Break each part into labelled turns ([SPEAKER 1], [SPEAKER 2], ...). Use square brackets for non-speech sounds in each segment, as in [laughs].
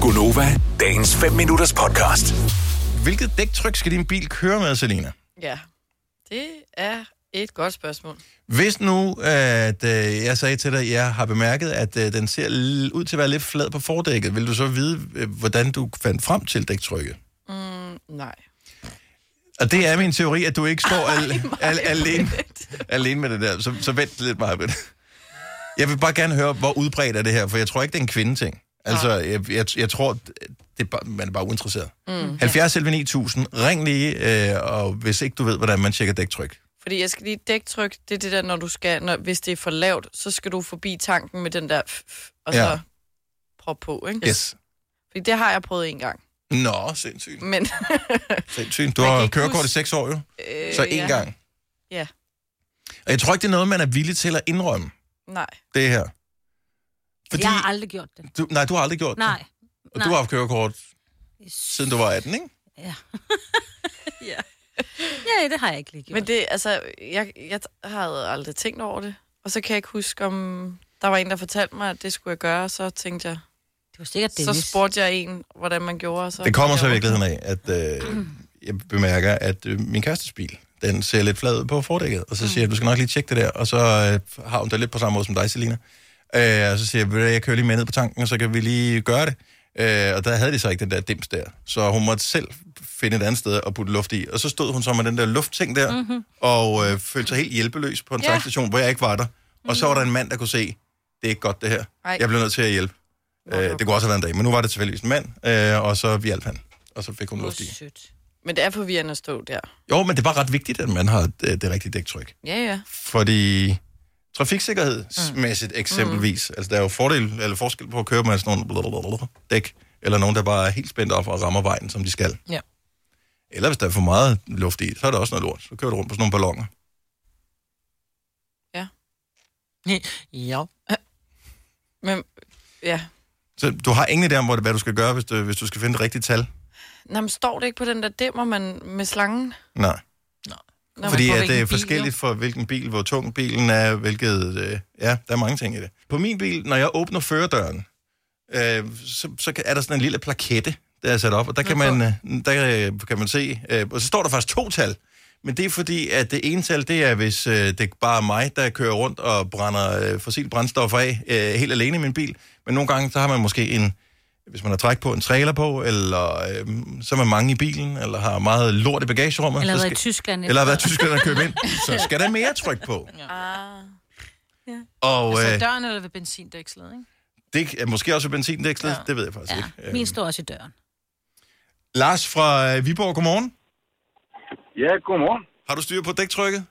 [SPEAKER 1] Gunova, dagens 5 minutters podcast.
[SPEAKER 2] Hvilket dæktryk skal din bil køre med, Selina?
[SPEAKER 3] Ja, det er et godt spørgsmål.
[SPEAKER 2] Hvis nu, at øh, jeg sagde til dig, at jeg har bemærket, at øh, den ser l- ud til at være lidt flad på fordækket, vil du så vide, øh, hvordan du fandt frem til dæktrykket?
[SPEAKER 3] Mm, Nej.
[SPEAKER 2] Og det er min teori, at du ikke står al- al-
[SPEAKER 3] Maja,
[SPEAKER 2] alene,
[SPEAKER 3] vent.
[SPEAKER 2] alene med det der. Så, så vent lidt meget med det. Jeg vil bare gerne høre, hvor udbredt er det her, for jeg tror ikke, det er en kvindeting. Altså, jeg, jeg, jeg tror, det er bare, man er bare uinteresseret. Mm. 70 11 9000, ring lige, øh, og hvis ikke du ved, hvordan man tjekker dæktryk.
[SPEAKER 3] Fordi jeg skal lige dæktryk, det er det der, når du skal, når, hvis det er for lavt, så skal du forbi tanken med den der, f- f- og
[SPEAKER 2] Ja.
[SPEAKER 3] ja. så prop på, ikke?
[SPEAKER 2] Yes.
[SPEAKER 3] Fordi det har jeg prøvet en gang.
[SPEAKER 2] Nå, sindssygt.
[SPEAKER 3] Men [laughs]
[SPEAKER 2] Sindssygt. Du
[SPEAKER 3] Man kan
[SPEAKER 2] har
[SPEAKER 3] ikke
[SPEAKER 2] kørekort i
[SPEAKER 3] huske-
[SPEAKER 2] seks år jo,
[SPEAKER 3] øh,
[SPEAKER 2] så én
[SPEAKER 3] ja.
[SPEAKER 2] gang.
[SPEAKER 3] Ja,
[SPEAKER 2] Og jeg tror ikke, det er noget, man er villig til at indrømme,
[SPEAKER 3] nej.
[SPEAKER 2] det her. Fordi,
[SPEAKER 4] Fordi... Jeg har aldrig gjort det.
[SPEAKER 2] du, nej, du har aldrig gjort
[SPEAKER 4] Nej.
[SPEAKER 2] det. Og du har haft kørekort, siden du var 18, ikke?
[SPEAKER 4] Ja. [laughs]
[SPEAKER 3] Ja.
[SPEAKER 4] ja, det har jeg ikke lige gjort.
[SPEAKER 3] Men det, altså, jeg, jeg havde aldrig tænkt over det. Og så kan jeg ikke huske, om der var en, der fortalte mig, at det skulle jeg gøre, og så tænkte jeg,
[SPEAKER 4] det var sikkert
[SPEAKER 3] Dennis. så spurgte jeg en, hvordan man gjorde, og så...
[SPEAKER 2] Det kommer så i virkeligheden af, at øh, jeg bemærker, at øh, min kærestes bil, den ser lidt flad ud på fordækket. Og så siger jeg, du skal nok lige tjekke det der. Og så øh, har hun det lidt på samme måde som dig, Selina. Øh, og så siger jeg, "Ved du hvad, jeg kører lige med ned på tanken, og så kan vi lige gøre det. Øh, og der havde de så ikke den der dims der. Så hun måtte selv finde et andet sted at putte luft i. Og så stod hun så med den der luftting der, mm-hmm. og øh, følte sig helt hjælpeløs på en
[SPEAKER 3] Mhm. Ja.
[SPEAKER 2] yeah. tankstation, hvor jeg ikke var der. Og så var der en mand, der kunne se, det er ikke godt det her.
[SPEAKER 3] Ej.
[SPEAKER 2] Jeg blev nødt til at hjælpe. Øh, det kunne også have været en dag, men nu var det tilfældigvis en mand, øh, og så hjalp han. Og så fik hun luft i.
[SPEAKER 4] sødt.
[SPEAKER 3] Men det er forvirrende at stå der.
[SPEAKER 2] Jo, men det var ret vigtigt, at man har øh, det, det rigtige dæktryk.
[SPEAKER 3] Ja, ja.
[SPEAKER 2] Fordi
[SPEAKER 3] Mm.
[SPEAKER 2] trafiksikkerhedsmæssigt eksempelvis, altså der er jo fordel, eller forskel på at køre med sådan nogle blablabla dæk, eller nogen, der bare er helt spændt op og rammer vejen, som de skal.
[SPEAKER 3] Ja.
[SPEAKER 2] Eller hvis der er for meget luft i, så er der også noget lort. Så kører du rundt på sådan nogle ballonger.
[SPEAKER 4] ja.
[SPEAKER 3] Men, ja.
[SPEAKER 2] Så du har ingen idé om, hvor det- hvad du skal gøre, hvis du, hvis du skal finde det rigtige tal?
[SPEAKER 3] Nå, men står det ikke på den der dæmmer man med slangen?
[SPEAKER 2] Nej.
[SPEAKER 3] Når
[SPEAKER 2] Fordi
[SPEAKER 3] man får
[SPEAKER 2] at det er
[SPEAKER 3] hvilken bil,
[SPEAKER 2] forskelligt for hvilken bil, hvor tung bilen er, hvilket... Øh, ja, der er mange ting i det. På min bil, når jeg åbner førerdøren, øh, så, så kan- er der sådan en lille plakette, der er sat op, og der kan man, øh, der øh, kan man se... Øh, og så står der faktisk to tal, men det er fordi, at det ene tal, det er, hvis øh, det er bare mig, der kører rundt og brænder øh, fossile brændstoffer af øh, helt alene i min bil. Men nogle gange, så har man måske en hvis man har træk på en trailer på, eller øh, så er man mange i bilen, eller har meget lort i bagagerummet.
[SPEAKER 4] Eller
[SPEAKER 2] så
[SPEAKER 4] har været
[SPEAKER 2] skal-
[SPEAKER 4] i Tyskland.
[SPEAKER 2] eller har været tyskerne og købe ind, så skal der mere tryk på.
[SPEAKER 3] Ah. Altså,
[SPEAKER 2] Og
[SPEAKER 5] Så
[SPEAKER 2] øh,
[SPEAKER 5] døren eller ved benzindækslet, ikke?
[SPEAKER 2] det er måske også benzindækslet, ja. det ved jeg faktisk ja.
[SPEAKER 4] Ja,
[SPEAKER 2] ikke. Øh,
[SPEAKER 4] min står også i døren.
[SPEAKER 2] Lars fra øh, Viborg, godmorgen.
[SPEAKER 6] Ja, godmorgen.
[SPEAKER 2] Har du styr på dæktrykket?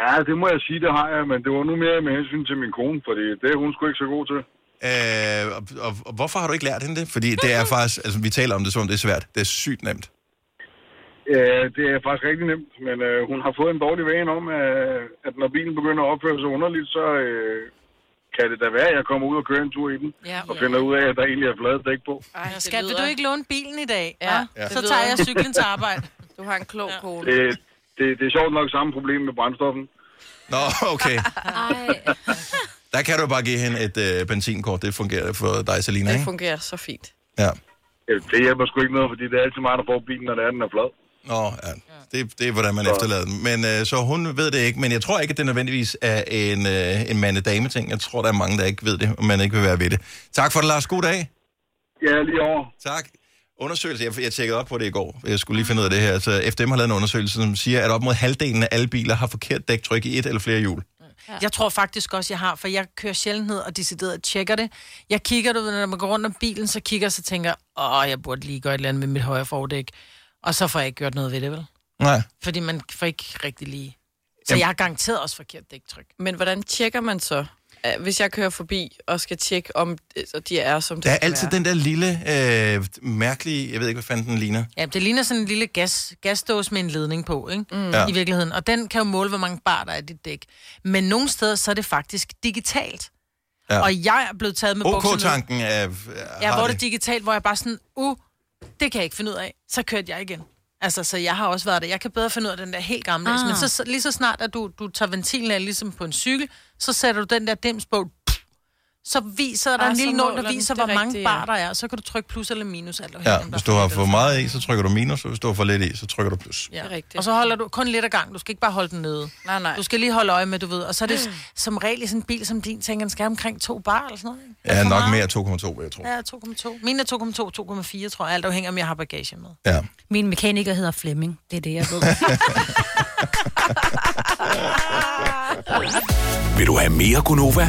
[SPEAKER 6] Ja, det må jeg sige, det har jeg, men det var nu mere med hensyn til min kone, fordi det er hun sgu ikke så god til.
[SPEAKER 2] Øh, og, og, og hvorfor har du ikke lært hende det? Fordi det er faktisk, altså vi taler om det, som om det er svært. Det er sygt nemt.
[SPEAKER 6] Øh, det er faktisk rigtig nemt, men øh, hun har fået en dårlig vane om, øh, at når bilen begynder at opføre sig underligt, så øh, kan det da være, at jeg kommer ud og kører en tur i den,
[SPEAKER 5] Ja.
[SPEAKER 6] og finder ud af, at der egentlig er flade dæk på.
[SPEAKER 3] Ej,
[SPEAKER 5] Nå,
[SPEAKER 3] det
[SPEAKER 5] Skat, vil
[SPEAKER 3] lyder-
[SPEAKER 5] du ikke låne bilen i dag?
[SPEAKER 3] Ja,
[SPEAKER 5] hva'?
[SPEAKER 3] det
[SPEAKER 5] Så
[SPEAKER 3] lyder-
[SPEAKER 5] tager jeg cyklen til arbejde.
[SPEAKER 3] Du har en klog kone.
[SPEAKER 6] Det, det, det er sjovt nok samme problem med brændstoffen.
[SPEAKER 2] Nå, okay.
[SPEAKER 4] [laughs] Ej,
[SPEAKER 2] Der kan du bare give hende et øh, benzinkort. Det fungerer for dig, Selina,
[SPEAKER 3] Det
[SPEAKER 2] ikke?
[SPEAKER 3] fungerer så fint.
[SPEAKER 2] Ja.
[SPEAKER 6] Øh, Det hjælper sgu ikke noget, fordi det er altid mig, der får bilen, når det er, den er flad.
[SPEAKER 2] Nå, ja. Det, det er, hvordan man efterlader den. Men øh, så hun ved det ikke, men jeg tror ikke, at det nødvendigvis er en, øh, en mande-dame-ting. Jeg tror, der er mange, der ikke ved det, og man ikke vil være ved det. Tak for det, Lars. God dag.
[SPEAKER 6] Ja, lige over.
[SPEAKER 2] Tak. Undersøgelse, jeg, jeg tjekkede op på det i går. Jeg skulle lige finde ud af det her. Altså, FDM har lavet en undersøgelse, som siger, at op mod halvdelen af alle biler har forkert dæktryk i et eller flere hjul.
[SPEAKER 5] Jeg tror faktisk også, jeg har, for jeg kører sjældent ned og decideret tjekker det. Jeg kigger, du ved, når man går rundt om bilen, så kigger jeg, så tænker, åh, jeg burde lige gøre et eller andet med mit højre fordæk. Og så får jeg ikke gjort noget ved det, vel?
[SPEAKER 2] Nej.
[SPEAKER 5] Fordi man får ikke rigtig lige... Så
[SPEAKER 2] Jamen-
[SPEAKER 5] jeg har garanteret også forkert dæktryk.
[SPEAKER 3] Men hvordan tjekker man så? Ah, Hvis jeg kører forbi og skal tjekke, om øh, så de er, som det
[SPEAKER 2] Der er
[SPEAKER 3] skal
[SPEAKER 2] altid
[SPEAKER 3] være.
[SPEAKER 2] den der lille, øh, mærkelige, jeg ved ikke, hvad fanden den ligner.
[SPEAKER 5] Ja, det ligner sådan en lille gas, gasdåse med en ledning på, ikke? Mm.
[SPEAKER 2] Ja.
[SPEAKER 5] Ja. I virkeligheden. Og den kan jo måle, hvor mange bar der er i dit dæk. Men nogle steder, så er det faktisk digitalt.
[SPEAKER 2] Ja.
[SPEAKER 5] Ja. Og jeg er blevet taget med bukserne. ned.
[SPEAKER 2] OK-tanken er...
[SPEAKER 5] Ja, hvor det er digitalt, hvor jeg bare sådan, uh, det kan jeg ikke finde ud af. Så kørte jeg igen. Altså, så jeg har også været der. Jeg kan bedre finde ud af den der helt gamle. Ah. Men så- så, lige så snart, at du, du tager ventilen af, ligesom på en cykel, så sætter du den der dims på, pff, så viser der
[SPEAKER 3] Ah,
[SPEAKER 5] en
[SPEAKER 3] så
[SPEAKER 5] lille nål,
[SPEAKER 3] måler
[SPEAKER 5] der
[SPEAKER 3] den.
[SPEAKER 5] viser,
[SPEAKER 3] Det er
[SPEAKER 5] hvor mange
[SPEAKER 3] rigtigt,
[SPEAKER 5] bar
[SPEAKER 3] ja.
[SPEAKER 5] der er. Så kan du trykke plus eller minus, alt afhængig,
[SPEAKER 2] Ja,
[SPEAKER 5] om der
[SPEAKER 2] hvis
[SPEAKER 5] er
[SPEAKER 2] du har
[SPEAKER 5] frit eller
[SPEAKER 2] for
[SPEAKER 5] sådan
[SPEAKER 2] meget i, så trykker du minus, og hvis du har for lidt i, så trykker du plus.
[SPEAKER 5] Ja.
[SPEAKER 3] Det er rigtigt.
[SPEAKER 5] Og så holder du kun lidt af gang. Du skal ikke bare holde den nede.
[SPEAKER 3] Nej, nej. Mm.
[SPEAKER 5] Du skal lige holde øje med, du ved. Og så er det s- som regel i sådan en bil som din, tænker den skal omkring to bar eller sådan noget. ikke? Er
[SPEAKER 2] Ja,
[SPEAKER 5] for
[SPEAKER 2] nok
[SPEAKER 5] meget?
[SPEAKER 2] mere 2,2, vil jeg tro.
[SPEAKER 5] Ja, 2,2. Min er 2,2, 2,4, tror jeg. Alt afhænger, om jeg har bagage med.
[SPEAKER 2] Ja.
[SPEAKER 7] Min mekaniker hedder Flemming. Det er det, jeg ved.
[SPEAKER 1] Vil du have mere Gunova?